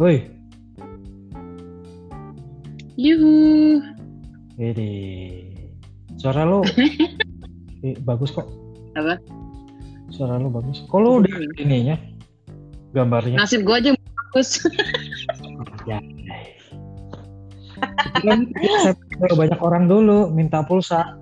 Woi, Yuhu. ini suara lo eh, bagus kok. Apa? Suara lo bagus. Kok lo udah ininya gambarnya? Nasib gua aja yang bagus. Ya. Kan, saya- saya banyak orang dulu minta pulsa.